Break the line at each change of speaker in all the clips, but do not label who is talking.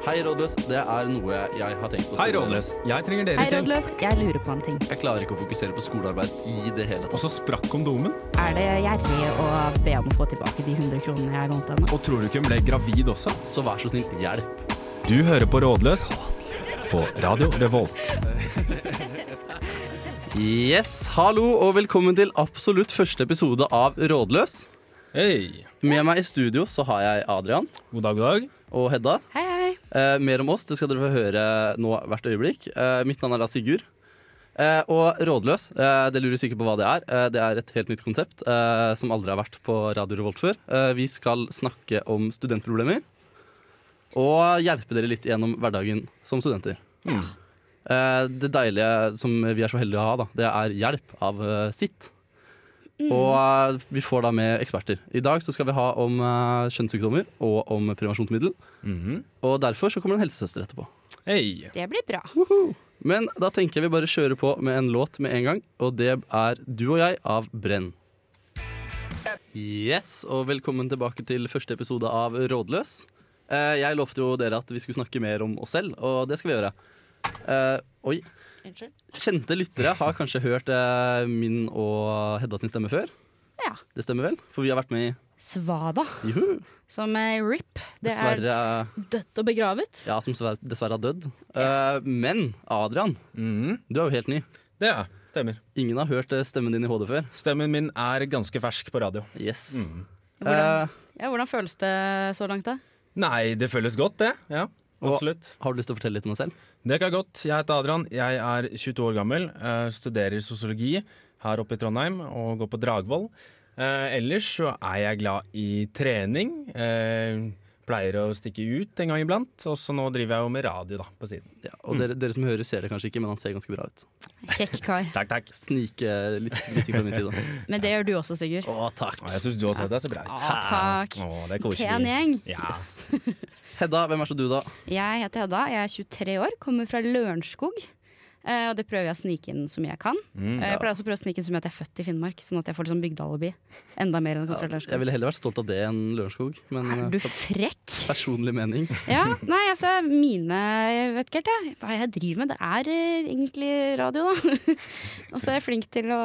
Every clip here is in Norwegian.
Hei, rådløs. Det er noe jeg har tenkt på.
Hei, Rådløs. Jeg trenger dere
Hei,
til.
rådløs. Jeg lurer på en ting.
Jeg klarer ikke å fokusere på skolearbeid i det hele
Og
tatt.
så sprakk kondomen.
Er det gjerrig å be om å få tilbake de 100 kronene jeg lånte henne?
Og tror du ikke hun ble gravid også?
Så vær så snill, hjelp.
Du hører på Rådløs på Radio Revolt.
Yes, hallo og velkommen til absolutt første episode av Rådløs.
Hei.
Med meg i studio så har jeg Adrian
God dag, god dag.
og Hedda.
Hei, hei.
Eh, mer om oss det skal dere få høre nå hvert øyeblikk. Eh, mitt navn er da Sigurd. Eh, og Rådløs, eh, det lurer sikkert på hva det er. Eh, det er et helt nytt konsept eh, som aldri har vært på Radio Revolt før. Eh, vi skal snakke om studentproblemer og hjelpe dere litt gjennom hverdagen som studenter. Eh, det deilige som vi er så heldige å ha, da, det er hjelp av eh, sitt. Og eh, vi får da med eksperter. I dag så skal vi ha om eh, kjønnssykdommer og om prevensjonsmiddel. Og derfor så kommer det en helsesøster etterpå.
Hei.
Det blir bra.
Men da tenker jeg vi bare kjører på med en låt med en gang, og det er Du og jeg av Brenn. Yes, og velkommen tilbake til første episode av Rådløs. Eh, Jeg lovte jo dere at vi skulle snakke mer om oss selv, og det skal vi gjøre. Eh, Oi.
Unnskyld.
Kjente lyttere har kanskje hørt eh, min og Hedda sin stemme før.
Ja.
Det stemmer vel? For vi har vært med
Svada,
i Juhu!
som er RIP. Det er
Dessverre eh,
dødt og begravet.
Ja, som dessverre- dessverre har dødd. Eh, Men Adrian,
Mhm.
du er jo helt ny.
Det er jeg. stemmer.
Ingen har hørt eh, stemmen din i HD før.
Stemmen min er ganske fersk på radio.
Yes.
Hvordan,
Eh,
ja, hvordan føles det så langt, da?
Nei, det føles godt, det. Ja,
Og-
absolutt.
har du lyst til å fortelle litt om deg selv?
Det kan jeg godt. Jeg heter Adrian, jeg er 22 år gammel, eh, studerer sosiologi her oppe i Trondheim og går på Dragvoll. Eh, Ellers så er jeg glad i trening. eh, Pleier å stikke ut en gang iblant. Og så nå driver jeg jo med radio, da, på siden.
Ja, og dere, dere som hører, ser det kanskje ikke, men han ser ganske bra ut.
Kjekk kar.
Takk, takk.
Snike eh, litt kritikk fra min side.
Men det gjør du også, Sigurd.
Å, takk.
Jeg syns du også det er så bra ut.
Ja, takk.
Å, det er koselig.
Pen gjeng.
Ja.
Hedda, hvem er så du, da?
Jeg heter Hedda, jeg er 23 år, kommer fra Lørenskog. eh, Og det prøver jeg å snike inn som jeg kan. Eh, Jeg pleier også å prøve å snike inn som at jeg er født i Finnmark, sånn at jeg får litt sånn bygdealibi. Enda mer enn å komme fra
Jeg
Lørenskog.
ville heller vært stolt av det enn Lørenskog, men
Er
eh,
du
per-
frekk?
personlig mening.
Ja, nei, altså mine Jeg vet ikke helt jeg, hva jeg driver med. Det er eh, egentlig radio, da. Og så er jeg flink til å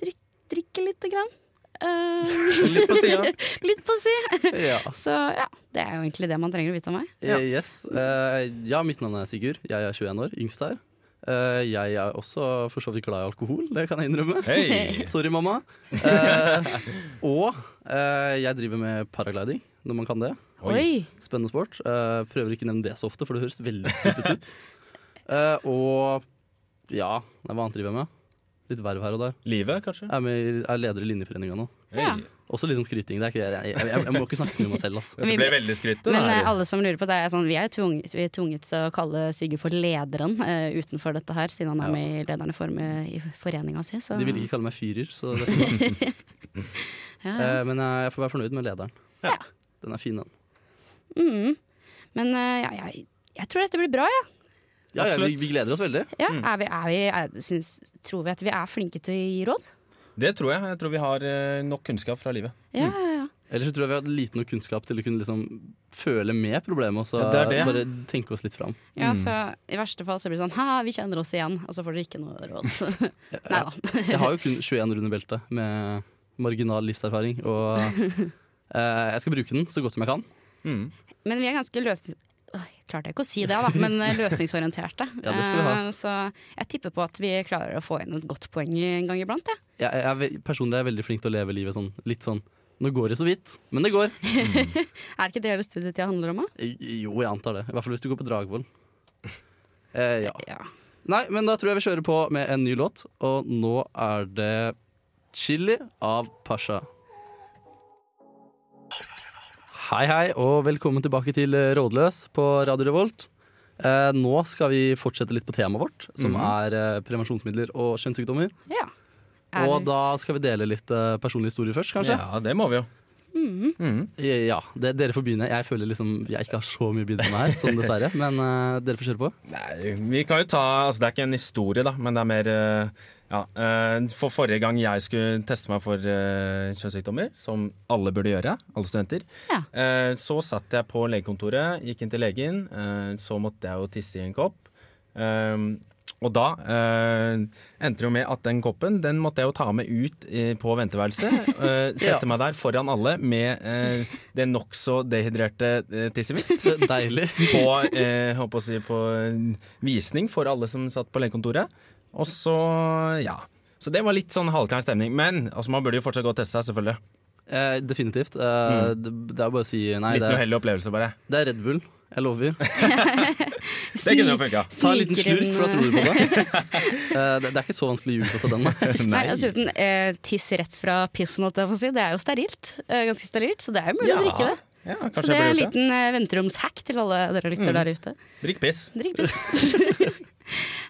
drikke, drikke lite grann. Eh,
Litt på sida.
litt på si.
Ja.
Så ja, det er jo egentlig det man trenger å vite om meg.
Eh, Yes. Eh, ja, mitt navn er Sigurd. Jeg er 21 år, yngst her. Eh, jeg er også for så vidt glad i alkohol, det kan jeg innrømme.
Hei.
Sorry, mamma. Eh, og eh, jeg driver med paragliding, når man kan det.
Oi.
Oi.
Spennende sport. Eh, prøver ikke å nevne det så ofte, for det høres veldig spyttet ut. Eh, og ja, nei, hva annet driver jeg med? Litt verv her og der.
Livet, kanskje?
Jeg er, med, i- er leder i Linjeforeninga nå.
Ja.
Hei.
Også litt sånn skryting. Det er ikke, jeg, jeg, jeg, jeg må ikke snakke så mye om meg selv. altså. ass.
Dette ble veldig skrytt.
Men eh,
det
alle som lurer på det, er sånn, vi er tvunget, vi er tvunget til å kalle Sigurd for lederen eh, utenfor dette her, siden han er med i Lederne for, i foreninga si. Så.
De ville ikke kalle meg fyrer, så det er fint.
Ja, ja.
Eh, Men jeg får være fornøyd med lederen.
Ja.
Den er fin, den.
Mhm. Men eh, ja, jeg, jeg tror dette blir bra, jeg.
Ja, ja, vi,
Absolutt.
vi gleder oss veldig.
Ja. Er vi, er vi, er, syns, tror vi at vi er flinke til å gi råd?
Det tror jeg. Jeg tror vi har eh, nok kunnskap fra livet.
Ja,
Mm.
ja, ja.
Ellers så tror jeg vi har hatt liten nok kunnskap til å kunne liksom føle med problemet og så
Ja, det er det.
bare tenke oss litt fram.
ja så
Mm.
I verste fall så blir det sånn ha, vi kjenner oss igjen, og så får dere ikke noe råd. Nei da.
Jeg har jo kun 21 runder belte med marginal livserfaring, og eh, jeg skal bruke den så godt som jeg kan.
Mm.
Men vi er ganske løsnings... Åh, jeg Klarte ikke å si det, da, men eh, løsningsorienterte.
Ja, det skal vi ha.
Eh, Så jeg tipper på at vi klarer å få inn et godt poeng en gang iblant. Ja.
Jeg, jeg, er ve- personlig er jeg veldig flink til å leve livet sånn litt sånn Nå går det så vidt, men det går.
Er ikke det hele studietida handler om? Da?
Jo, jeg antar det. I hvert fall hvis du går på Dragvoll. Eh, ja.
Ja.
Nei, men da tror jeg vi kjører på med en ny låt, og nå er det Chili av Pasha. Hei, hei, og velkommen tilbake til Rådløs på Radio Revolt. Eh, nå skal vi fortsette litt på temaet vårt, som er eh, prevensjonsmidler og kjønnssykdommer.
ja. Er
Og
det-
da skal vi dele litt eh, personlige historier først, kanskje?
Ja, det må vi jo.
Ja, det, Dere får begynne. Jeg føler liksom jeg ikke har så mye å begynne med her, sånn dessverre. Men eh, dere får kjøre på.
Nei, vi kan jo ta, altså Det er ikke en historie, da, men det er mer eh, Ja, eh, for forrige gang jeg skulle teste meg for eh, kjønnssykdommer, som alle burde gjøre, alle studenter,
Ja.
eh, så satt jeg på legekontoret, gikk inn til legen, eh, så måtte jeg jo tisse i en kopp. Eh, og da eh, endte det jo med at den koppen den måtte jeg jo ta med ut eh, på venteværelset. Eh,
Ja.
sette meg der foran alle med eh, det nokså dehydrerte eh, tisset mitt
Så Deilig.
på, eh, håper å si, på en visning for alle som satt på legekontoret. Og så, ja. Så det var litt sånn halvklein stemning. Men altså, man burde jo fortsatt gå og teste seg, selvfølgelig.
Eh, definitivt. Eh,
Mm.
det, det er bare å si nei.
Litt
Det, er-
uheldig opplevelse, bare.
det er Red Bull. Jeg lover.
Det kunne jo funka.
Ta en liten
Sniker inn-
slurk, for da tror du på det. Eh, det, det er ikke så vanskelig å ljuge på seg den. da.
Nei, dessuten, eh, tiss rett fra pissen, holdt jeg på å si. Det er jo sterilt. Eh, ganske sterilt, så det er jo mulig å drikke det.
Ja,
Så
kanskje jeg
det er en
burde gjort det.
liten eh, venteromshack til alle dere lytter
Mm.
der ute.
Drikk piss.
Drikk piss.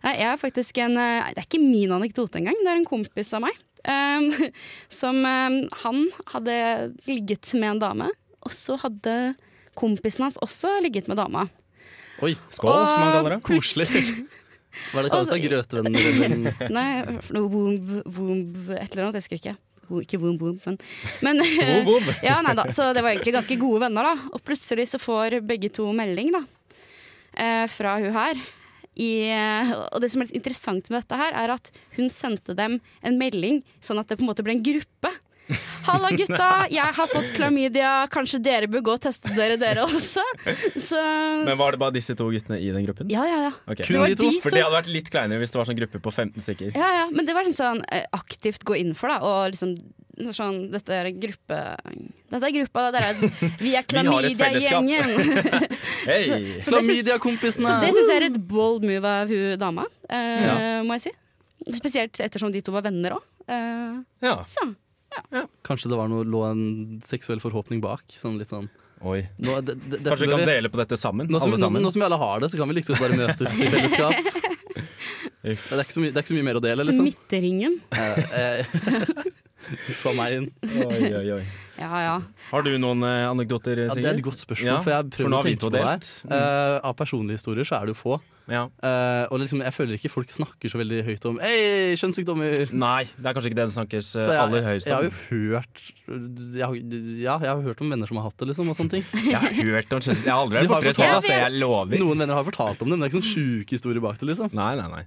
Nei, jeg har faktisk en eh, Det er ikke min anekdote engang, det er en kompis av meg. Um, som um, Han hadde ligget med en dame, og så hadde kompisen hans også ligget med dama.
Oi,
Skål, som man kaller det.
koselig. Hva er det
Altså,
kalles? da? Grøtvenner eller
Nei, for noe womb, womb, et eller annet, jeg husker ikke. Wo- Ikke womb, womb, men, men
Boom, boom.
Ja, nei da, så det var egentlig ganske gode venner, da. Og plutselig så får begge to melding, da. Eh, fra hun her. I, eh, og det som er litt interessant med dette her, er at hun sendte dem en melding sånn at det på en måte ble en gruppe. Halla, gutta! Jeg har fått klamydia. Kanskje dere bør gå og teste dere, dere også? Så
Men var det bare disse to guttene i den gruppen?
Ja, ja, ja.
Ok.
Kun
var
de to?
de
For
to.
det hadde vært litt kleinere hvis det var sånn gruppe på 15 stykker.
Ja, ja, men det var en sånn eh, aktivt gå inn for, da. Og liksom sånn Dette er gruppe... Dette er gruppa, da. Der er, vi er
Vi har et
klamydia-gjengen.
Hei!
Så det syns- så det
Klamydia-kompisene!
syns jeg er et bold move av hun dama, eh,
Ja.
må jeg si. Spesielt ettersom de to var venner òg. Eh,
Ja.
så.
Kanskje det var noe, lå en seksuell forhåpning bak. Sånn litt sånn
Oi.
nå, det, det, dette
Kanskje vi
bør
kan dele på dette sammen?
nå som,
Alle
nå,
sammen.
nå som vi alle har det, så kan vi liksom bare møtes i fellesskap. Det
Uff.
er ikke så mye, det er ikke så mye mer å dele, liksom.
Smitteringen.
Eh, eh, Uff a meg.
Oi, oi, oi.
Ja ja.
Har du noen eh, anekdoter,
Ja, det
Sigurd?
er et godt spørsmål,
Ja,
for jeg har
for
prøvd
nå
å
har vi
tenke
to
på det her.
delt.
Eh, av personlige historier så er det jo få.
Ja.
Eh, og liksom, jeg føler ikke folk snakker så veldig høyt om Hei, kjønnssykdommer!
Nei, det er kanskje ikke det det snakkes
Så
eh,
jeg,
Mm, aller høyest
jeg har
om.
jo hørt jeg har, Ja, jeg har hørt om venner som har hatt det, liksom, og sånne ting.
Jeg har hørt om kjønns... Jeg har aldri
De har
vært borti det
fortalt-
selv, altså, jeg lover.
Noen venner har fortalt om det, men det er ikke sånn sjuke historier bak det, liksom.
Nei, nei, nei.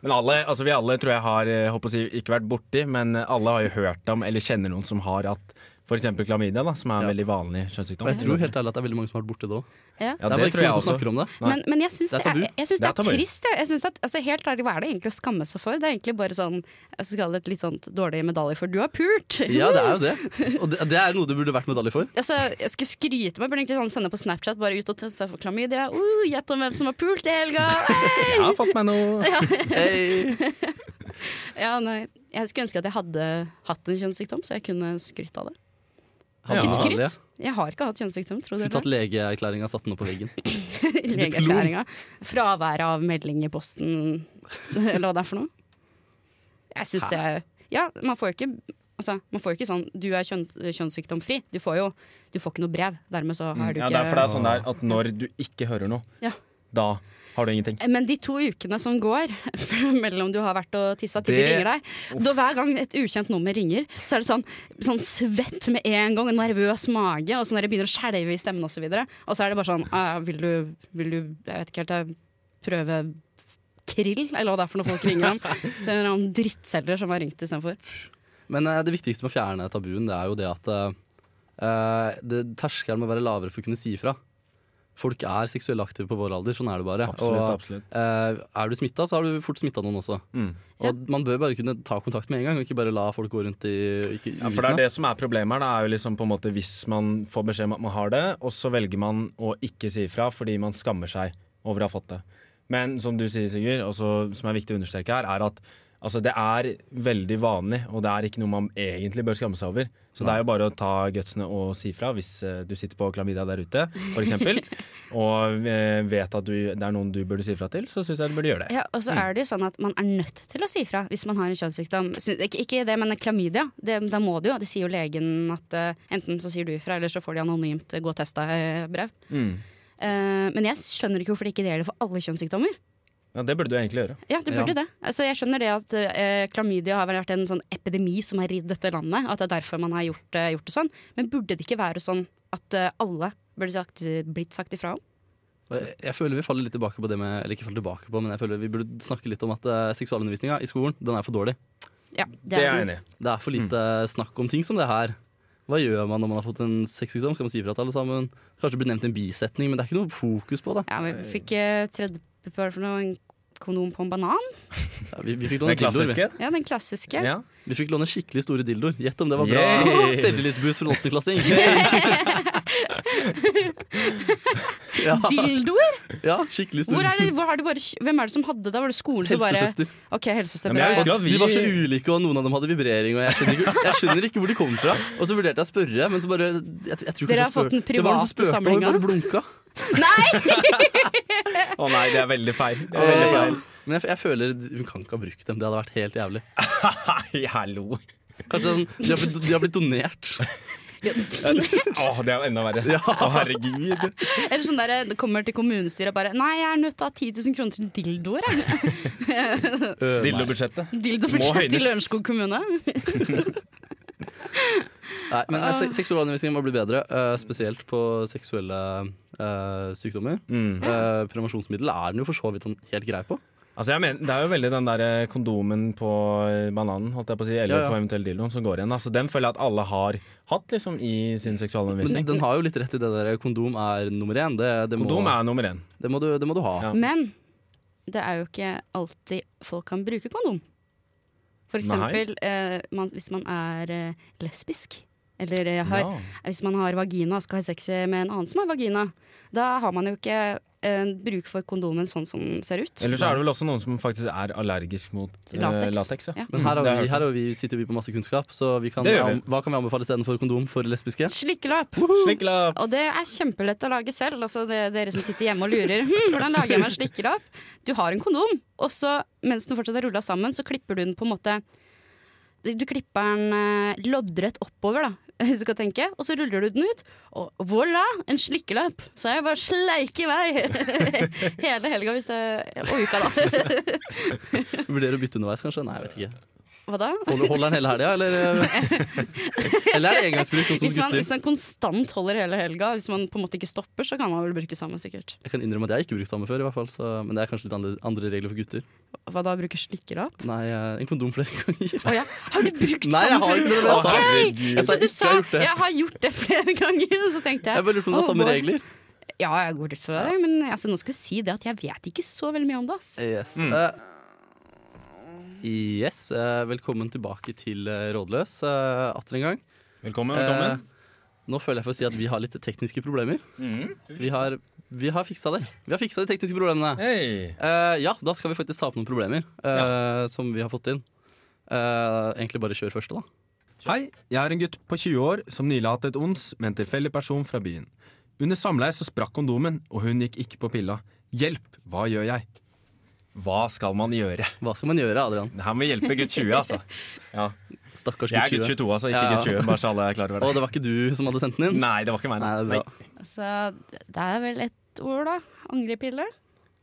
Men alle, altså vi alle tror jeg har eh, håper å si, ikke vært borti, men eh, alle har jo hørt om eller kjenner noen som har hatt f.eks. klamydia, da, som er en
Ja.
veldig vanlig
Og
kjønnssykdom.
jeg tror helt ærlig at det er veldig mange som har vært borti det òg.
ja.
ja,
det er
det
bare ikke
tror
så mange
jeg
som
også.
snakker om det.
Nei.
Men, men jeg syns
Det
det,
er tabu.
er- jeg synes
Det
det
er
er
tabu.
trist. Jeg. Jeg synes at, altså, helt ærlig, hva er det egentlig å skamme seg for? Det er egentlig bare sånn jeg skal kalle det et litt sånt dårlig medalje for du har pult.
Ja, det er jo det. Og det, det er noe det burde vært medalje for.
Altså, jeg skulle skryte meg, burde egentlig sånn sende på Snapchat Bare ut og teste seg for klamydia. Uh, Gjett om hvem som har pult i helga!
Jeg har fått meg noe
Hey.
Ja, nei. Jeg skulle ønske at jeg hadde hatt en kjønnssykdom, så jeg kunne skrytt av det.
Hadde
Ikke
du
skrytt.
medalje?
Jeg har ikke hatt kjønnssykdom, tror
Skulle
dere
tatt legeerklæringa og satt den opp på veggen.
det? Legeerklæringa. Fraværet av melding i posten, eller hva det er for noe. Jeg syns det er Ja, man får jo ikke Altså, man får jo ikke sånn 'du er kjønn, kjønnssykdomfri'. Du får jo du får ikke noe brev. Dermed så har du
Ja,
ikke
det er for det er sånn der at når du ikke hører noe,
Ja.
da har du ingenting.
Eh, Men de to ukene som går mellom du har vært og tissa til de
Det-
ringer deg da Hver gang et ukjent nummer ringer, så er det sånn, sånn svett med en gang, og nervøs mage, og sånn der det begynner å skjelve i stemmen osv. Og så er det bare sånn «Ah, vil, du, vil du Jeg vet ikke helt, jeg prøve krill, eller hva det er for noe folk ringer om. Så er det noen drittselgere som har ringt istedenfor.
Men eh, det viktigste med å fjerne tabuen, det er jo det at eh, det, terskelen må være lavere for å kunne si ifra. Folk er seksuelt aktive på vår alder, sånn er det bare.
Absolutt,
og,
absolutt.
eh, er du smitta, så har du fort smitta noen også.
Mm.
Og man bør bare kunne ta kontakt med en gang, og ikke bare la folk gå rundt i ikke,
Ja, for det er det som er problemet her. Det er jo liksom på en måte Hvis man får beskjed om at man har det, og så velger man å ikke si ifra fordi man skammer seg over å ha fått det. Men som du sier, Sigurd, og så- som er viktig å understreke her, er at altså, det er veldig vanlig, og det er ikke noe man egentlig bør skamme seg over. Så det er jo bare å ta gutsene og si ifra hvis eh, du sitter på klamydia der ute, f.eks., og eh, vet at du, det er noen du burde si ifra til, så syns jeg du burde gjøre det.
Ja, og så er det jo sånn at man er nødt til å si ifra hvis man har en kjønnssykdom. Sy- Ikke, ikke det, men klamydia. Det, da må du jo. Det sier jo legen at eh, enten så sier du ifra, eller så får de anonymt eh, 'gå og test deg'-brev.
Mm.
men jeg skjønner ikke hvorfor det ikke gjelder for alle kjønnssykdommer.
Ja, det burde du egentlig gjøre.
Ja, det burde det. Altså, jeg skjønner det at eh, klamydia har vel vært en sånn epidemi som har ridd dette landet, at det er derfor man har gjort, eh, gjort det sånn. Men burde det ikke være sånn at eh, alle burde sagt, blitt sagt ifra om?
Jeg jeg føler vi faller litt tilbake på det med Eller ikke faller tilbake på, men jeg føler vi burde snakke litt om at eh, seksualundervisninga i skolen, den er for dårlig.
Ja,
Det er jeg enig i.
Det er for lite snakk om ting som det her. Hva gjør man når man har fått en sexsykdom? Skal man si ifra til alle sammen? Kanskje det blir nevnt en bisetning, men det er ikke noe fokus på det.
Ja, men vi fikk eh, tredje hva var det for noe? En kondom på en banan?
Ja, vi, vi fikk
Den
låne dildoer.
klassiske.
Ja, den klassiske.
Ja.
Vi. vi fikk låne skikkelig store dildoer. Gjett om det var bra
Yay!
selvtillitsboost for en åttendeklassing. ja,
Dildoer?
ja, skikkelig
Hvor
store
er det, hvor har det bare, hvem er det som hadde det? Var det skolen som bare
Helsesøster.
OK, helsesøster.
Ja, men jeg
bare-
husker at vi
De var så ulike, og noen av dem hadde vibrering. Og jeg skjønner ikke, jeg skjønner ikke hvor de kom fra. Og så vurderte jeg å spørre, men så bare jeg, jeg tror kanskje
Dere
jeg
har
spør-
fått den
Det var noen som spurte,
private
og vi
samlinga.
bare blunka.
Å nei, det er veldig feil. Det er veldig
Eh,
feil.
Men jeg, jeg føler hun kan ikke ha brukt dem. Det hadde vært helt jævlig.
Nei, hallo.
Kanskje sånn, de, har blitt, de har blitt donert.
Å, det er jo enda verre.
Ja.
Å, herregud.
Eller sånn sånn der, det kommer til kommunestyret og bare Nei, jeg er nødt til å ha 10 000 kroner til dildoer. jeg.
Dildobudsjettet.
Dildobudsjett til
høynes.
Lørenskog kommune.
Nei, men eh, se- seksualundervisningen må bli bedre, eh, spesielt på seksuelle eh, sykdommer.
Mm.
Eh, prevensjonsmiddel er den jo for så vidt sånn helt grei på.
Altså, jeg mener, det er jo veldig den der eh, kondomen på eh, bananen, holdt jeg på å si, eller
Ja, ja.
på eventuell dildoen, som går igjen. Altså, den føler jeg at alle har hatt liksom, i sin
Men
seksualundervisning.
den har jo litt rett i det der eh, kondom er nummer én. Det, det, må,
Kondom er nummer én.
det, må, du, det må du ha.
Ja.
Men det er jo ikke alltid folk kan bruke kondom. For eksempel eh, man, hvis man er eh, lesbisk. Eller eh, har,
Ja.
hvis man har vagina og skal ha sex med en annen som har vagina. Da har man jo ikke eh, bruk for kondomen sånn som den ser ut.
Eller så er det vel også noen som faktisk er allergisk mot
Latex.
latex. latex ja.
Ja.
Men her, har
Mm, Det har
vi,
jeg
her har vi, sitter vi på masse kunnskap, så vi kan,
Det gjør vi.
an- hva kan vi anbefale istedenfor kondom for lesbiske?
Slikkelapp.
Slikkelapp.
Og det er kjempelett å lage selv. Altså det, dere som sitter hjemme og lurer hm, hvordan lager jeg meg en slikkelapp. Du har en kondom, og så mens den fortsatt er rulla sammen, så klipper du den på en måte Du klipper den eh, loddrett oppover, da, hvis du skal tenke, og så ruller du den ut. Og voilà, en slikkelapp! Så jeg bare sleik i vei hele helga hvis det Og uka, da.
Vurderer å bytte underveis, kanskje? Nei, jeg vet ikke.
Hva da?
Holder, holder den hele helga, eller? Eller er det engangsbruk, sånn som
Hvis man,
gutter?
hvis man konstant holder hele helga, hvis man på en måte ikke stopper, så kan man vel bruke samme, sikkert.
Jeg kan innrømme at jeg ikke har brukt samme før, i hvert fall, så, men det er kanskje litt andre, andre regler for gutter.
Hva da, bruke slikkelapp?
Nei, eh, en kondom flere ganger.
Å ja. Har du brukt
Nei, jeg
samme
har ikke det, men jeg
før?
sa-
Ok,
Herregud.
Jeg trodde du
Jeg sa
sa
ikke jeg har gjort det.
'jeg har gjort det flere ganger', og så tenkte jeg
Jeg bare lurer på om det
«Å,
er samme
boy».
regler.
Ja, jeg går ut fra det, men altså, nå skal jeg si det at jeg vet ikke så veldig mye om det. altså. ass.
Yes.
Mm.
Eh, yes. eh, velkommen tilbake til eh, Rådløs eh, atter en gang.
Velkommen. velkommen.
Eh, nå føler jeg for å si at vi har litt tekniske problemer.
Eh, mm.
Vi har, vi har fiksa det. Vi har fiksa de tekniske problemene.
Hei.
Eh, ja, da skal vi faktisk ta opp noen problemer eh, som vi har fått inn. Eh, egentlig bare kjør første, da.
Hei, jeg er en gutt på 20 år som nylig har hatt et ons med en tilfeldig person fra byen. Under samleie så sprakk kondomen, og hun gikk ikke på pilla. Hjelp, hva gjør jeg? Hva skal man gjøre?
Hva skal man gjøre, Adrian?
Det her må hjelpe gutt 20, altså. Ja.
Stakkars
Jeg er
gutt 20.
gutt 22, altså, ikke
Ja, ja.
gutt 20. Bare så alle er klar over
Og
det.
det var ikke du som hadde sendt den inn?
Nei, det var ikke meg.
Nei, det er bra.
Så Altså, det er vel ett ord, da. Angrepille.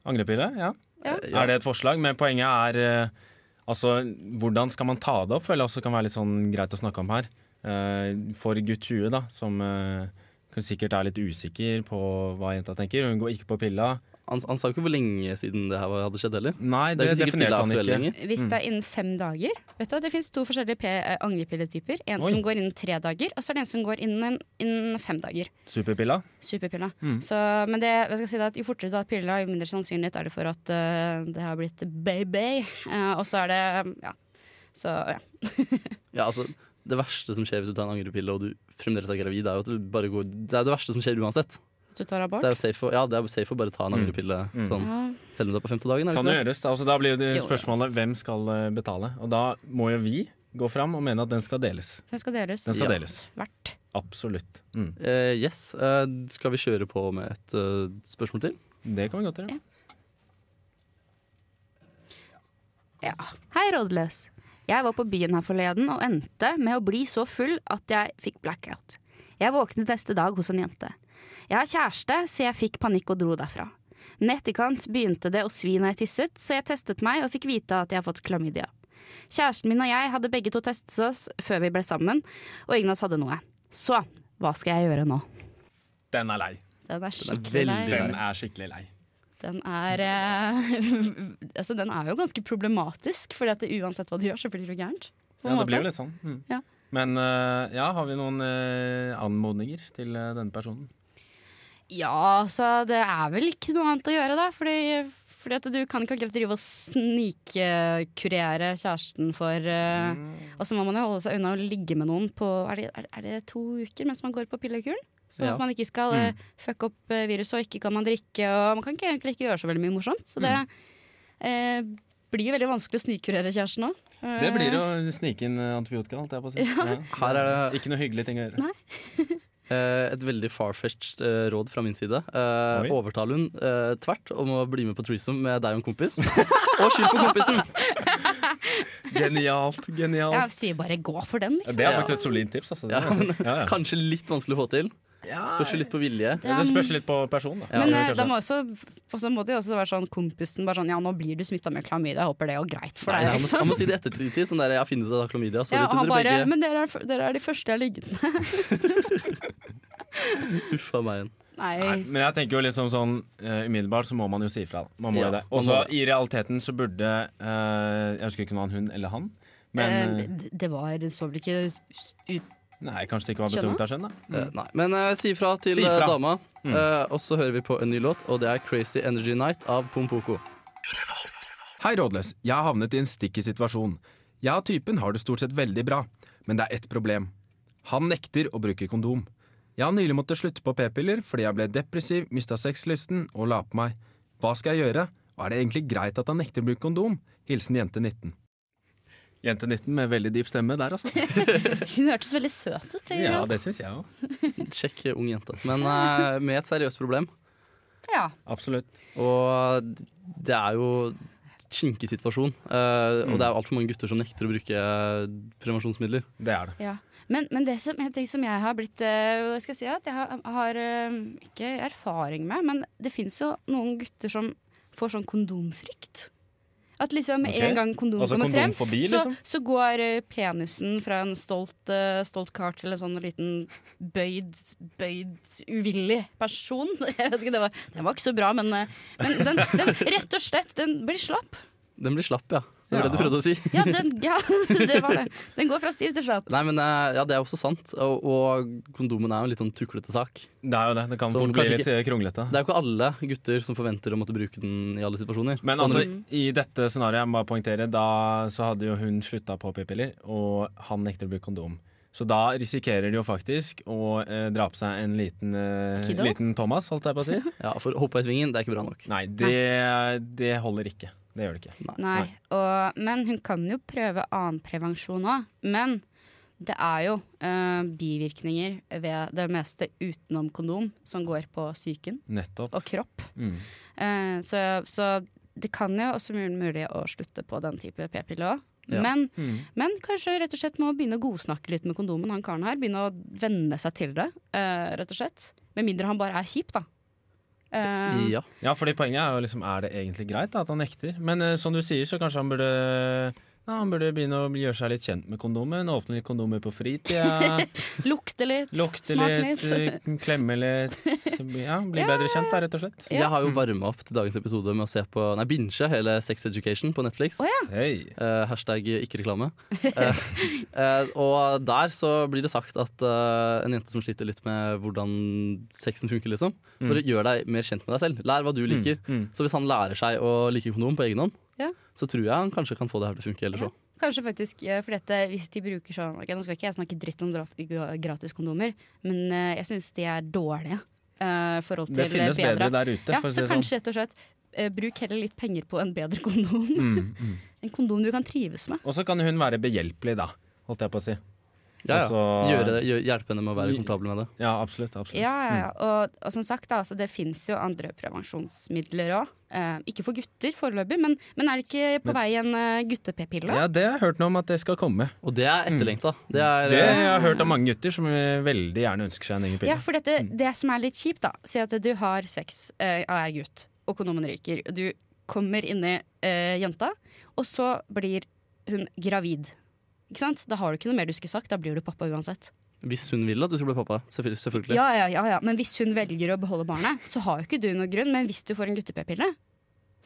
Angrepille, ja.
Ja.
Ja.
Er det et forslag? Men poenget er eh, altså, hvordan skal man ta det opp? Føler jeg også kan være litt sånn greit å snakke om her. Eh, For gutt 20, da, som eh, kan sikkert er litt usikker på hva jenta tenker. Hun går ikke på pilla.
Han, han sa jo ikke hvor lenge siden det her var- hadde skjedd heller. Det
Nei, det,
er jo ikke sikkert
definerte
pilla er
han
aktuell
ikke.
lenger.
Hvis det er innen fem dager Vet du, Det fins to forskjellige pe- eh, angrepilletyper. En
Oi.
som går innen tre dager, og så er det en som går innen, innen fem dager.
Superpilla?
Superpilla.
Mm.
Så, men det, jeg skal si det at jo fortere du tar pilla, jo mindre sannsynlighet er det for at eh, det har blitt baby. Eh, og så er det Ja. Så ja.
Ja, altså, det verste som skjer hvis du tar en angrepille og du fremdeles er gravid, er jo at du bare går Det er det verste som skjer uansett.
Hvis du tar
Så
abort.
det er jo safe å, ja, det er jo safe å bare ta en angrepille sånn,
Ja.
selv om du er på femte dagen. Er
Mm. Kan
det
jo
ikke det?
gjøres. da. Altså, da blir jo det
Jo, ja.
spørsmålet hvem skal eh, betale. Og da må jo vi gå fram og mene at den skal deles.
Den skal deles.
Den skal
Ja.
deles.
Hvert.
Absolutt. Mm.
Eh, yes. Eh, skal vi kjøre på med et eh, spørsmål til?
Det kan vi godt gjøre.
Ja. Hei, rådløs. Jeg var på byen her forleden og endte med å bli så full at jeg fikk blackout. Jeg våknet neste dag hos en jente. Jeg har kjæreste, så jeg fikk panikk og dro derfra. Men i etterkant begynte det å svi når jeg tisset, så jeg testet meg og fikk vite at jeg har fått klamydia. Kjæresten min og jeg hadde begge to testet oss før vi ble sammen, og ingen av oss hadde noe. Så hva skal jeg gjøre nå?
Den er lei.
Den
Den er
er skikkelig
veldig
lei.
lei.
Den er skikkelig lei.
Den er, eh, altså, den er jo ganske problematisk, Fordi at det, uansett hva du gjør, så blir det gærent. på
Ja,
en måte.
det blir jo litt sånn. Mm.
Ja.
Men eh, ja, har vi noen eh, anmodninger til eh, denne personen?
Ja, altså det er vel ikke noe annet å gjøre da. Fordi, fordi at du kan ikke akkurat drive og snikkurere kjæresten for eh,
Mm.
Og så må man jo holde seg unna å ligge med noen på er det, er, er det to uker mens man går på pillekuren? Så
Ja.
at man ikke skal eh,
Mm.
fucke opp eh, viruset, og ikke kan man drikke, og man kan ikke, egentlig ikke gjøre så veldig mye morsomt. Så det
Mm.
eh, blir veldig vanskelig å snikkurere kjæresten òg.
Det blir å snike inn eh, antibiotika, holdt jeg på å si. Ja.
Her er det
Ikke noe hyggelig ting å gjøre.
Nei.
Eh, et veldig far-fetched eh, råd fra min side. Eh,
Oi.
overtal hun eh, tvert om å bli med på threesome med deg og en kompis. og skyld på kompisen!
Genialt, genialt.
Jeg sier bare gå for den, liksom.
Det er faktisk et solid tips. Altså. Det,
Ja,
er
men,
altså. ja, ja.
Kanskje litt vanskelig å få til.
Ja,
Spørs jo litt på vilje.
ja, det spørs litt på personen. Da.
Men
Ja,
eh,
kanskje.
da må også, på sånn måte, også være sånn kompisen bare sånn Ja, nå blir du smitta med klamydia, jeg håper det går greit for
Nei,
deg.
han, må, han
Liksom.
må si det i ettertid. Sånn der, jeg har funnet ut at jeg har klamydia. Sorry
Ja, og
til
han
dere
bare,
begge.
men dere er, dere er de første jeg har ligget med.
Uffa meg.
Nei,
Nei, men jeg tenker jo liksom sånn eh, umiddelbart så må man jo si ifra. da. Man må
Ja,
jo det.
man
Og så
må det.
i realiteten så burde eh, Jeg husker ikke om det var en hun eller han. Men
eh,
eh,
det- det var Det så vel ikke s- s- ut
Nei, kanskje det ikke var
Skjønner.
betungt av skjønn, da.
Mm.
Eh, nei. Men eh, si ifra til
Si ifra.
eh, dama. Eh, og så hører vi på en ny låt, og det er 'Crazy Energy Night' av Pompoko.
Hei, rådløs. Jeg har havnet i en stikk i situasjon. Jeg og typen har det stort sett veldig bra, men det er ett problem. Han nekter å bruke kondom. Jeg har nylig måttet slutte på p-piller fordi jeg ble depressiv, mista sexlysten og la på meg. Hva skal jeg gjøre, og er det egentlig greit at han nekter å bruke kondom? Hilsen jente 19. Jente 19 med veldig dyp stemme der, altså.
Hun hørtes veldig søt ut. tenker jeg.
Ja, det syns jeg òg.
Kjekk eh, ung jente. Men eh, med et seriøst problem.
ja.
Absolutt.
Og det er jo kinkig situasjon. eh, Og det er jo altfor mange gutter som nekter å bruke eh, prevensjonsmidler.
Det er det.
Ja. Men, men det som, en ting som jeg har blitt eh, Hva skal jeg si at jeg har, har eh, ikke erfaring med, men det fins jo noen gutter som får sånn kondomfrykt. At liksom med
Ok.
en gang kondom
Altså
kommer frem,
kondomfobi, liksom?
så, så går eh, penisen fra en stolt, eh, stolt kar til en sånn liten bøyd, bøyd, uvillig person. Jeg vet ikke, det var, det var ikke så bra, men, eh, men den, den rett og slett, den blir slapp.
Den blir slapp, ja. Det var det du
Ja.
prøvde å si.
Ja, den, ja, det var det. Den går fra stiv til slapp.
Nei, men eh, ja, det er også sant. Og, og kondomen er jo en litt sånn tuklete sak.
Det er jo det. Det kan
Så
fort bli
kanskje
litt eh, kronglete.
Det er jo ikke alle gutter som forventer å måtte bruke den i alle situasjoner.
Men
Og
altså,
når-
i dette scenarioet, jeg må bare poengtere, da så hadde jo hun slutta på p-piller, og han nekter å bruke kondom. Så da risikerer de jo faktisk å eh, dra på seg en liten, eh,
Kiddo?
liten Thomas, holdt jeg på å si.
ja, for å hoppe i svingen, det er ikke bra nok.
Nei, det, det holder ikke. Det gjør det ikke.
Nei, og, men hun kan jo prøve annen prevensjon òg. Men det er jo eh, bivirkninger ved det meste utenom kondom som går på psyken
Nettopp.
og kropp.
Mm.
Eh, så, så det kan jo også være mulig å slutte på den type p-pille òg.
Ja.
Men,
Mm.
men kanskje rett og slett må begynne å godsnakke litt med kondomen, han karen her. Begynne å venne seg til det, eh, rett og slett. Med mindre han bare er kjip, da. Eh,
Ja.
Ja, fordi poenget er jo liksom, er det egentlig greit da, at han nekter? Men eh, som du sier, så kanskje han burde ja, han burde begynne å gjøre seg litt kjent med kondomen. Åpne litt kondomer på fritida.
Lukte litt,
Lukte
smake
litt,
litt.
eh, klemme litt. Ja, Bli bedre kjent, da, rett og slett.
Jeg har jo varma opp til dagens episode med å se på Nei, binge hele Sex Education på Netflix.
Å, ja.
Hei.
Eh, hashtag ikke reklame. Eh, eh, og der så blir det sagt at eh, en jente som sliter litt med hvordan sexen funker, liksom, bare gjør deg mer kjent med deg selv. Lær hva du liker.
mm.
Så hvis han lærer seg å like kondom på egen hånd,
Ja.
så tror jeg han kanskje kan få det her til å funke ellers òg.
Kanskje faktisk, eh, for dette, hvis de bruker sånn ok, Nå skal ikke jeg snakke dritt om dra- gra- gratis kondomer, men eh, jeg syns de er dårlige. eh, i forhold til
Det finnes
bedre.
bedre der ute,
Ja,
for å si
så
det sånn.
kanskje rett og slett eh, bruk heller litt penger på en bedre kondom.
Mm,
En kondom du kan trives med.
Og så kan hun være behjelpelig, da. Holdt jeg på å si.
Ja, ja.
Altså-
Gjøre det- gjø- hjelpe henne med å være komfortabel med det.
Ja, absolutt. absolutt. Mm.
Ja, ja, ja. Og, og som sagt, da, altså, det fins jo andre prevensjonsmidler òg. ikke for gutter foreløpig, men, men er det ikke på vei en eh, gutte-p-pille?
Ja, det har jeg hørt noe om at det skal komme.
Og det er etterlengta. Det er,
Mm. Det
eh,
jeg har hørt av mange gutter som eh, veldig gjerne ønsker seg en egen
Ja,
Mm.
pille.
for dette, det som er litt kjipt, da. Si at du har sex eh, og er gutt. og kondomen ryker. Og Du kommer inni eh, jenta, og så blir hun gravid. Ikke sant? Da har du ikke noe mer du skulle sagt. Da blir du pappa uansett.
Hvis hun vil at du skal bli pappa, selvfølgelig. selvfølgelig.
Ja, ja, ja, ja. Men hvis hun velger å beholde barnet, så har jo ikke du noe grunn. Men hvis du får en gutte-p-pille,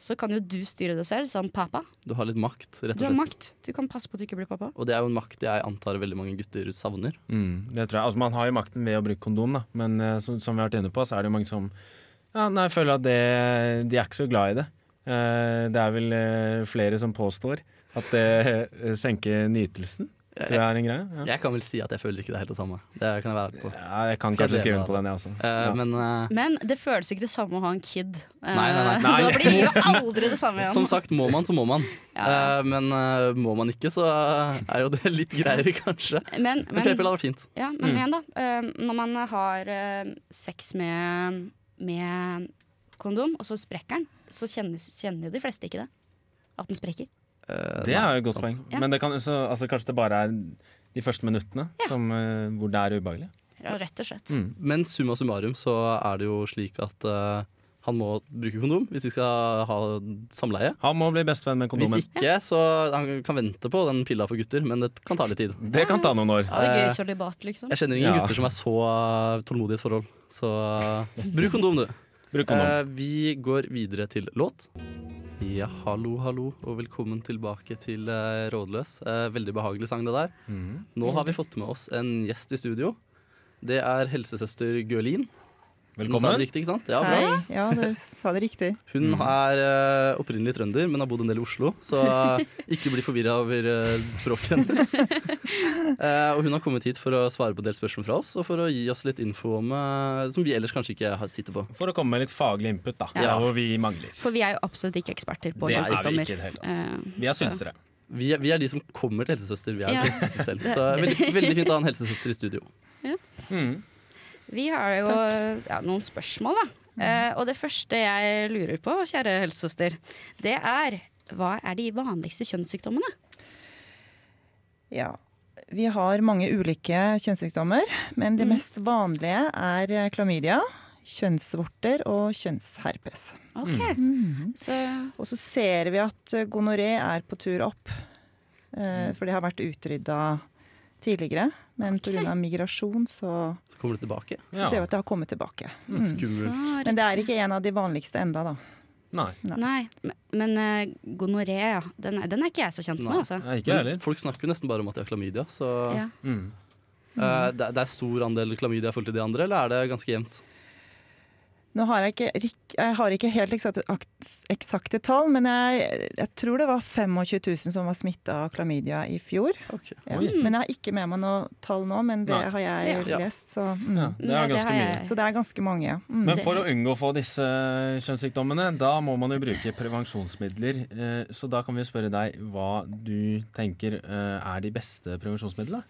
så kan jo du styre det selv som pappa.
Du har litt makt, rett og
Du har
slett.
makt. Du kan passe på at du ikke blir pappa.
Og det er jo en makt jeg antar veldig mange gutter savner.
Mm, det tror jeg. Altså, man har jo makten ved å bruke kondom, da. men eh, som, som vi har vært inne på, så er det jo mange som ja, nei, føler at det, de er ikke så glad i det. Eh, det er vel eh, flere som påstår at det eh, senker nytelsen. Tror jeg er en greie. Ja.
Jeg kan vel si at jeg føler ikke det er helt det samme. Det kan jeg være ærlig på.
Ja, jeg kan
Skal
kanskje
jeg
skrive
leve
under på den, jeg også.
Eh,
Ja.
Men eh,
Men det føles ikke det samme å ha en kid. Eh,
Nei, nei, nei.
Nei.
Da blir det jo aldri det samme igjen.
som sagt, må man, så må man.
Ja.
Eh, Men eh, må man ikke, så er jo det litt greiere, kanskje.
Men,
Men
men,
p-pille hadde vært fint.
ja,
Mm.
men igjen, da. eh, når man har eh, sex med, med kondom, og så sprekker den, så kjenner, kjenner jo de fleste ikke det. At den sprekker.
Eh,
Det
nei,
er jo et godt
sant.
poeng.
Ja.
Men det kan, så, altså, kanskje det bare er de første minuttene som, eh, hvor det er ubehagelig.
Rett og slett.
Mm.
Men summa summarum så er det jo slik at eh, han må bruke kondom hvis de skal ha samleie.
Han må bli bestevenn
Hvis
med kondomen.
ikke, så han kan vente på den pilla for gutter, men det kan ta litt tid.
Det kan ta noen år.
Ja, det
Eh,
er gøy sølibat, liksom.
Jeg kjenner ingen
Ja.
gutter som er så eh, tålmodige i et forhold. Så eh, bruk kondom, du.
Bruk kondom.
Eh, vi går videre til låt. Ja, hallo, hallo, og velkommen tilbake til eh, Rådløs. Eh, veldig behagelig sang, det der.
Mhm.
Nå har vi fått med oss en gjest i studio. Det er helsesøster Gørlin. Nå sa jeg
Velkommen.
det riktig, ikke sant? Ja, bra.
Hei. Ja, du sa det riktig.
Hun
Mm.
er eh, opprinnelig trønder, men har bodd en del i Oslo, så eh, ikke bli forvirra over eh, språket hennes. Eh, og hun har kommet hit for å svare på en del spørsmål fra oss, og for å gi oss litt info om, eh, som vi ellers kanskje ikke har- sitter på.
For å komme med litt faglig input, da.
Ja.
Hvor vi mangler.
For vi er jo absolutt ikke eksperter på
Det er vi
kjønnssykdommer.
ikke i det hele tatt.
Eh,
Vi er
så-
synsere.
Vi er, vi er de som kommer til helsesøster, vi er jo
Ja.
ikke helsesøster selv. Så veldig, veldig fint å ha en helsesøster i studio.
Vi har jo ja, noen spørsmål, da. Eh, og det første jeg lurer på, kjære helsesøster, det er hva er de vanligste kjønnssykdommene?
Ja. Vi har mange ulike kjønnssykdommer, men de mest vanlige er eh, klamydia, kjønnsvorter og kjønnsherpes.
Ok,
Mm.
så
Og så ser vi at eh, gonoré er på tur opp, eh, for det har vært utrydda tidligere. Men
Ok.
pga. migrasjon så,
Så kommer du tilbake.
så ser vi at det har kommet tilbake. Mm.
Skummelt.
så
Men det er ikke en av de vanligste enda, da.
Nei.
Nei, men- men eh, gonoré, ja. Den, er- den er ikke jeg så kjent
Nei.
med, altså.
Nei, ikke jeg
Men
heller.
folk snakker jo nesten bare om at de har klamydia, så
Ja.
Mm.
eh, det, det er stor andel klamydia i forhold til de andre, eller er det ganske jevnt?
Nå har jeg ikke, rik- jeg har ikke helt eksakte, aks- eksakte tall, men jeg, jeg tror det var 25 000 som var smitta av klamydia i fjor.
Ok.
Ja.
Oi.
Men jeg har ikke med meg noe tall nå, men det
Nei.
har jeg
Ja.
lest. Så, mm.
Ja, det
Nei,
er ganske
har
mye.
jeg-
så det er ganske mange. ja. Mm.
Men for å unngå å få disse eh, kjønnssykdommene, da må man jo bruke prevensjonsmidler. Eh, Så da kan vi spørre deg hva du tenker eh, er de beste prevensjonsmidlene.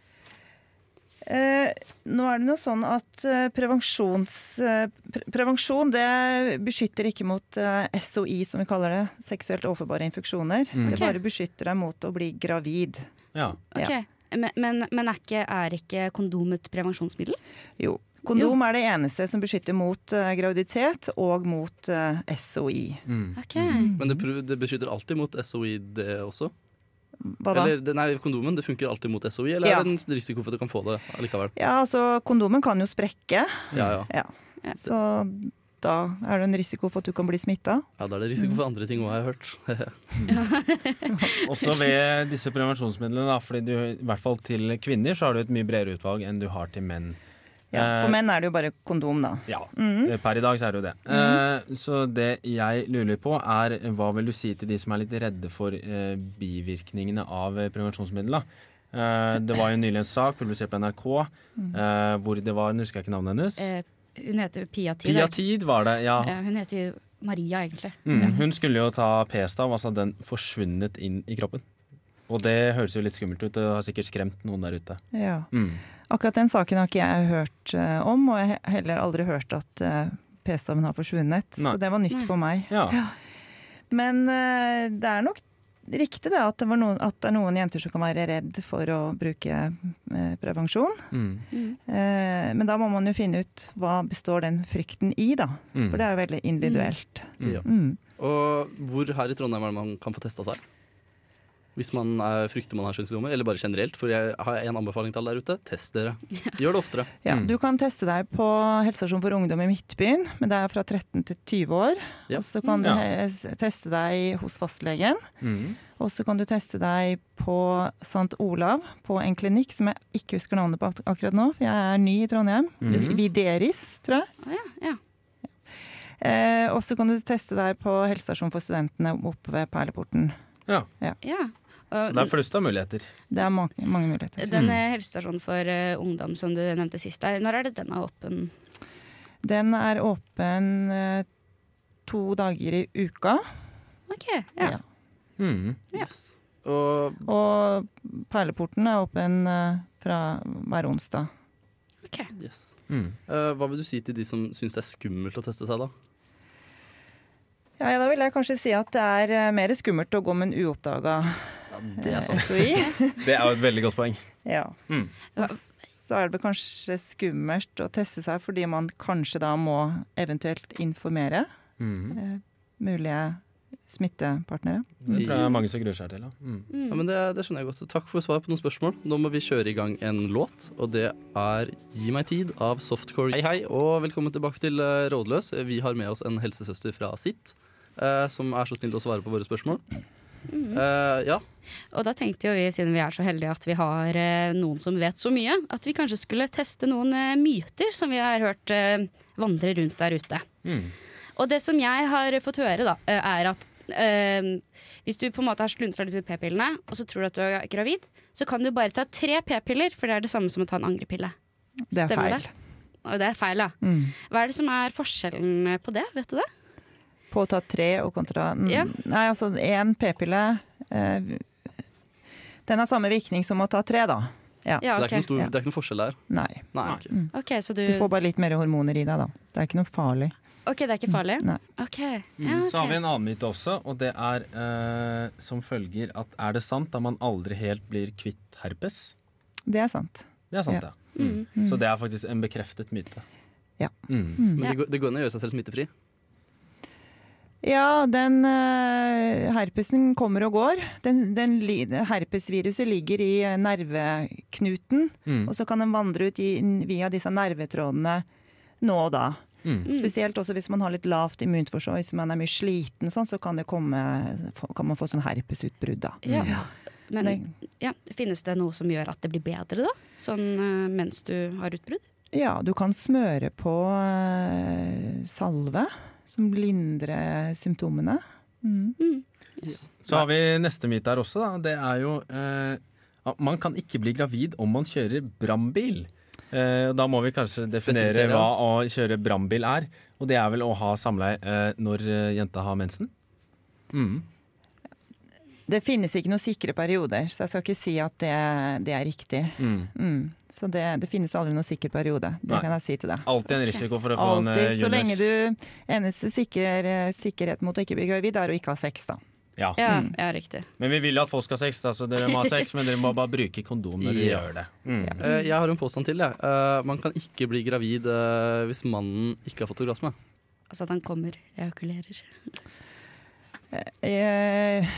Eh, nå er det noe sånn at eh, prevensjons, eh, pre prevensjon det beskytter ikke mot eh, SOI, som vi kaller det. Seksuelt overførbare infeksjoner.
Mm.
Det
Ok.
bare beskytter deg mot å bli gravid.
Ja.
Ok, Men, men, men er, ikke, er ikke kondom et prevensjonsmiddel?
Jo. Kondom er det eneste som beskytter mot eh, graviditet og mot eh, SOI.
Mm.
Ok,
Men det, pr- det beskytter alltid mot SOI, det også?
Hva da?
Eller, det- nei, kondomen det funker alltid mot SOI, eller
Ja.
er det en risiko for at du kan få det likevel?
Ja, altså kondomen kan jo sprekke,
Ja, ja.
ja. så da er det en risiko for at du kan bli smitta.
ja Da er det
Mm.
risiko for andre ting òg, har jeg hørt.
Også ved disse prevensjonsmidlene, da, fordi du, i hvert fall til kvinner, så har du et mye bredere utvalg enn du har til menn.
Ja,
Eh,
for menn Mhm. er det jo bare kondom, da.
Ja, per i dag så er det jo det.
Mhm.
Eh, så det jeg lurer på er, hva vil du si til de som er litt redde for eh, bivirkningene av eh, prevensjonsmidler? Eh, det var jo nylig en sak publisert på NRK
Mhm.
eh, hvor det var, nå husker jeg ikke navnet hennes.
eh, hun heter jo Pia Tid.
Pia Tid var det, ja.
Ja, hun heter jo Maria, egentlig.
Mm, hun skulle jo ta p-stav, altså den forsvunnet inn i kroppen. Og det høres jo litt skummelt ut, det har sikkert skremt noen der ute.
Ja.
Mm.
Akkurat den saken har ikke jeg hørt eh, om, og jeg har heller aldri hørt at eh, p-staven har forsvunnet.
Nei.
Så det var nytt
Nei.
for meg.
Ja.
Men eh, det er nok riktig det at det, var noen, at det er noen jenter som kan være redd for å bruke eh, prevensjon.
Mm.
Eh, men da må man jo finne ut hva består den frykten i, da.
Mm.
For det er jo veldig individuelt.
Mm.
Ja.
Mm.
Og hvor her i Trondheim er det man kan få testa seg? Hvis man eh, frykter man har kjønnssykdommer, eller bare generelt. For jeg har en anbefaling til alle der ute. Test dere. Gjør det oftere.
Ja,
Mm.
Du kan teste deg på helsestasjon for ungdom i Midtbyen, men det er fra 13 til 20 år.
Ja.
Og så kan du
Ja.
he- s- teste deg hos fastlegen.
Mm.
Og så kan du teste deg på St. Olav, på en klinikk som jeg ikke husker navnet på ak- akkurat nå, for jeg er ny i Trondheim.
Mhm.
Videris, tror jeg.
Å ja, ja.
Eh, og så kan du teste deg på helsestasjon for studentene oppe ved Perleporten.
ja.
ja.
Så
Og
det er Mm. flust av muligheter.
Det er mange, mange muligheter.
den eh, helsestasjonen for eh, ungdom som du nevnte sist, der, når er det den er åpen?
Den er åpen eh, to dager i uka.
OK. Ja.
Ja.
Mm.
Ja.
Yes. Og
Og Perleporten er åpen eh, fra hver onsdag.
ok.
yes.
Mm.
Eh, hva vil du si til de som syns det er skummelt å teste seg, da?
Ja, ja, Da vil jeg kanskje si at det er eh, mer skummelt å gå med en uoppdaga
Ja, det er sant.
SOI.
Det er jo et veldig godt poeng.
ja.
Mm.
Og Så er det vel kanskje skummelt å teste seg fordi man kanskje da må eventuelt informere eh,
Mm.
mulige smittepartnere.
Det tror jeg er mange som gruer seg til. Da. Mm.
Ja, men det, det skjønner jeg godt. Takk for svar på noen spørsmål. Nå må vi kjøre i gang en låt, og det er Gi meg tid av Softcore. Hei, hei, og velkommen tilbake til eh, Rådløs. Vi har med oss en helsesøster fra sitt, eh, som er så snill å svare på våre spørsmål. Eh, ja,
Og da tenkte jo vi, siden vi er så heldige at vi har eh, noen som vet så mye, at vi kanskje skulle teste noen eh, myter som vi har hørt eh, vandre rundt der ute.
Mm.
Og det som jeg har fått høre, da, eh, er at eh, hvis du på en måte har sluntra litt ut p-pillene, og så tror du at du er gravid, så kan du bare ta tre p-piller, for det er det samme som å ta en angrepille.
Det er
Stemmer
feil.
det? Og det er feil, ja.
Mm.
Hva er det som er forskjellen på det, vet du det?
På å ta tre og kontra n-
Ja.
Nei, altså én p-pille eh, Den har samme virkning som å ta tre, da. Ja.
så
Ja,
det er ikke noen,
ok.
stor,
Ja.
det er ikke noen forskjell der.
Nei.
Nei,
Nei.
ok.
Ok, så du,
Du får bare litt mer hormoner i deg, da. Det er ikke noe farlig.
ok, det er ikke farlig?
Nei.
Ok. Ja,
Mm. Så har vi
ok.
en annen myte også, og det er eh, som følger at er det sant at man aldri helt blir kvitt herpes?
Det er sant.
Det er sant, ja. Mm. Så det er faktisk en bekreftet myte.
Ja.
Mm.
Men
Ja.
det, går- det går an å gjøre seg selv smittefri.
Ja, den eh, herpesen kommer og går. Den, den, li- herpesviruset ligger i eh, nerveknuten,
Mm.
og så kan den vandre ut i, via disse nervetrådene nå og da.
Mm.
Spesielt også hvis man har litt lavt immunforsvar, hvis man er mye sliten, og sånn, så kan, det komme, få- kan man få sånn herpesutbrudd. Da.
Ja. Men
Det-
ja, finnes det noe som gjør at det blir bedre, da? Sånn eh, mens du har utbrudd?
ja, du kan smøre på eh, salve som lindrer symptomene. Mm.
Så har vi neste myte her også, da. Det er jo eh, at man kan ikke bli gravid om man kjører brannbil. Eh, og da må vi kanskje definere
Spesifisere,
hva
ja.
å kjøre brannbil er. Og det er vel å ha samleie eh, når eh, jenta har mensen. Mm.
Det finnes ikke noen sikre perioder, så jeg skal ikke si at det, det er riktig.
Mm.
Mm. Så det, det finnes aldri noen sikker periode. Det
Nei.
kan jeg si til deg.
Alltid en risiko for å få en
Alltid,
eh,
så lenge
juniors.
du Eneste sikker, eh, sikkerhet mot å ikke bli gravid, er å ikke ha sex, da.
Ja.
Ja,
Mm.
ja riktig.
Men vi vil jo at folk skal ha sex, da, så dere må ha sex, men dere må bare bruke kondom når dere
Ja.
gjør det. Mm.
Eh, jeg har en påstand til. Jeg. Eh, man kan ikke bli gravid eh, hvis mannen ikke har fått orgasme.
Altså at han kommer, ejakulerer.
Eh,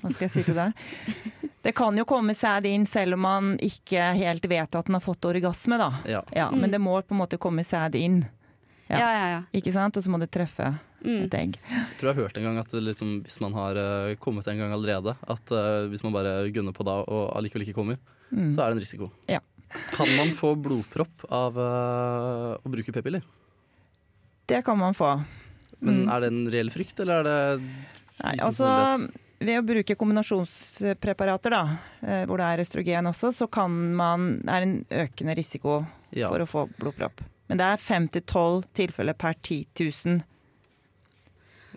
hva skal jeg si til deg? Det kan jo komme sæd inn selv om man ikke helt vet at den har fått orgasme, da.
Ja.
Ja, men det må på en måte komme sæd inn, Ja.
Ja, ja, ja.
ikke sant? Og så må det treffe et egg.
Jeg tror jeg har hørt en gang at det liksom, hvis man har eh, kommet en gang allerede, at eh, hvis man bare gunner på da og allikevel ikke kommer,
Mm.
så er det en risiko.
Ja.
Kan man få blodpropp av eh, å bruke p-piller?
Det kan man få.
Men
Mm.
er det en reell frykt, eller er det
Nei,
liten
altså
sannsynlighet?
ved å bruke kombinasjonspreparater, da, eh, hvor det er østrogen også, så kan man, er det en økende risiko
Ja.
for å få blodpropp. Men det er 5-12 tilfeller per 10 000.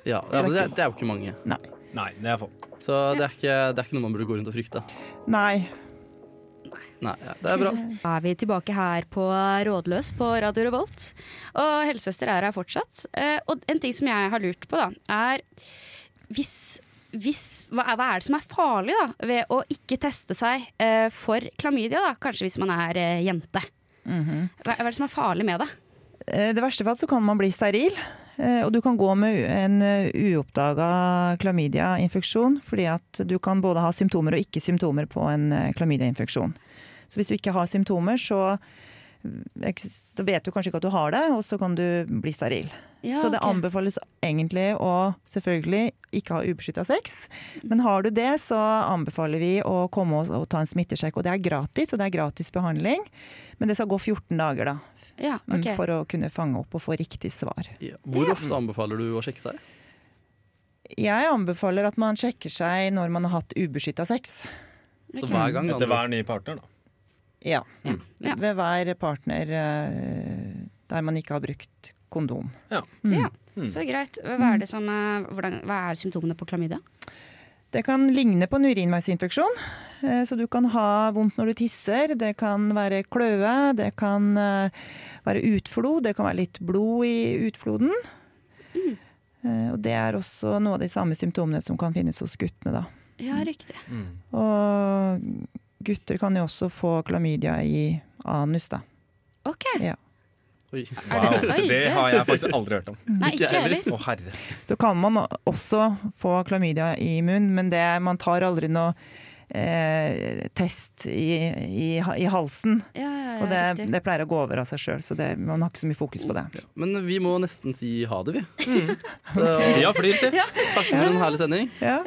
Ja, ja, men det, er- det er jo ikke mange.
Nei.
Nei, det er få.
Så det er ikke, det er ikke noe man burde gå rundt og frykte.
Nei.
Nei, ja, det er bra.
Da er vi tilbake her på Rådløs på Radio Revolt. Og helsesøster er her fortsatt. Eh, Og en ting som jeg har lurt på, da, er hvis, hvis hva, er, hva er det som er farlig da, ved å ikke teste seg eh, for klamydia? da? Kanskje hvis man er eh, jente.
Mhm.
hva, hva er det som er farlig med det?
Eh, Det verste fall så kan man bli steril, eh, og du kan gå med u- en eh, uoppdaga klamydiainfeksjon, fordi at du kan både ha symptomer og ikke symptomer på en eh, klamydiainfeksjon. Så hvis du ikke har symptomer, så mm, da vet du kanskje ikke at du har det, og så kan du bli steril.
Ja,
så det
ok.
anbefales egentlig å selvfølgelig ikke ha ubeskytta sex. Men har du det, så anbefaler vi å komme og, og ta en smittesjekk. Og det er gratis, og det er gratis behandling. Men det skal gå 14 dager, da.
Ja,
Mm,
ok.
for å kunne fange opp og få riktig svar.
Ja. Hvor ofte anbefaler du å sjekke seg?
Jeg anbefaler at man sjekker seg når man har hatt ubeskytta sex.
Så hver gang?
Etter hver ny partner, da.
Ja.
Ja.
Ved hver partner eh, der man ikke har brukt kondom. Mm.
Ja, så greit. Hva er, det som, eh, hvordan, hva er symptomene på klamydia?
Det kan ligne på en urinveisinfeksjon, eh, så du kan ha vondt når du tisser. Det kan være kløe, det kan eh, være utflod, det kan være litt blod i utfloden.
Mm.
Eh, Og det er også noe av de samme symptomene som kan finnes hos guttene, da.
Ja, riktig.
Og gutter kan jo også få klamydia i anus, da.
Ok.
Ja.
Oi.
Er det, oi,
Det har jeg faktisk aldri hørt om.
Nei, ikke
Ikke jeg
jeg heller.
Å, herre.
Så kan man også få klamydia i munnen, men det, man tar aldri noe eh, test i, i, i halsen.
Ja, ja, ja,
Og det,
riktig.
det pleier å gå over av seg sjøl, så det, man har ikke så mye fokus på det.
Men vi må nesten si ha det, vi.
Mm.
Tida flyr, si.
Ja.
Takk for en herlig sending.
Ja.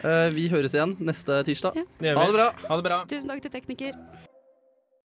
Eh, Vi høres igjen neste tirsdag.
Ja.
Ha det bra.
Ha det bra.
Tusen takk til tekniker.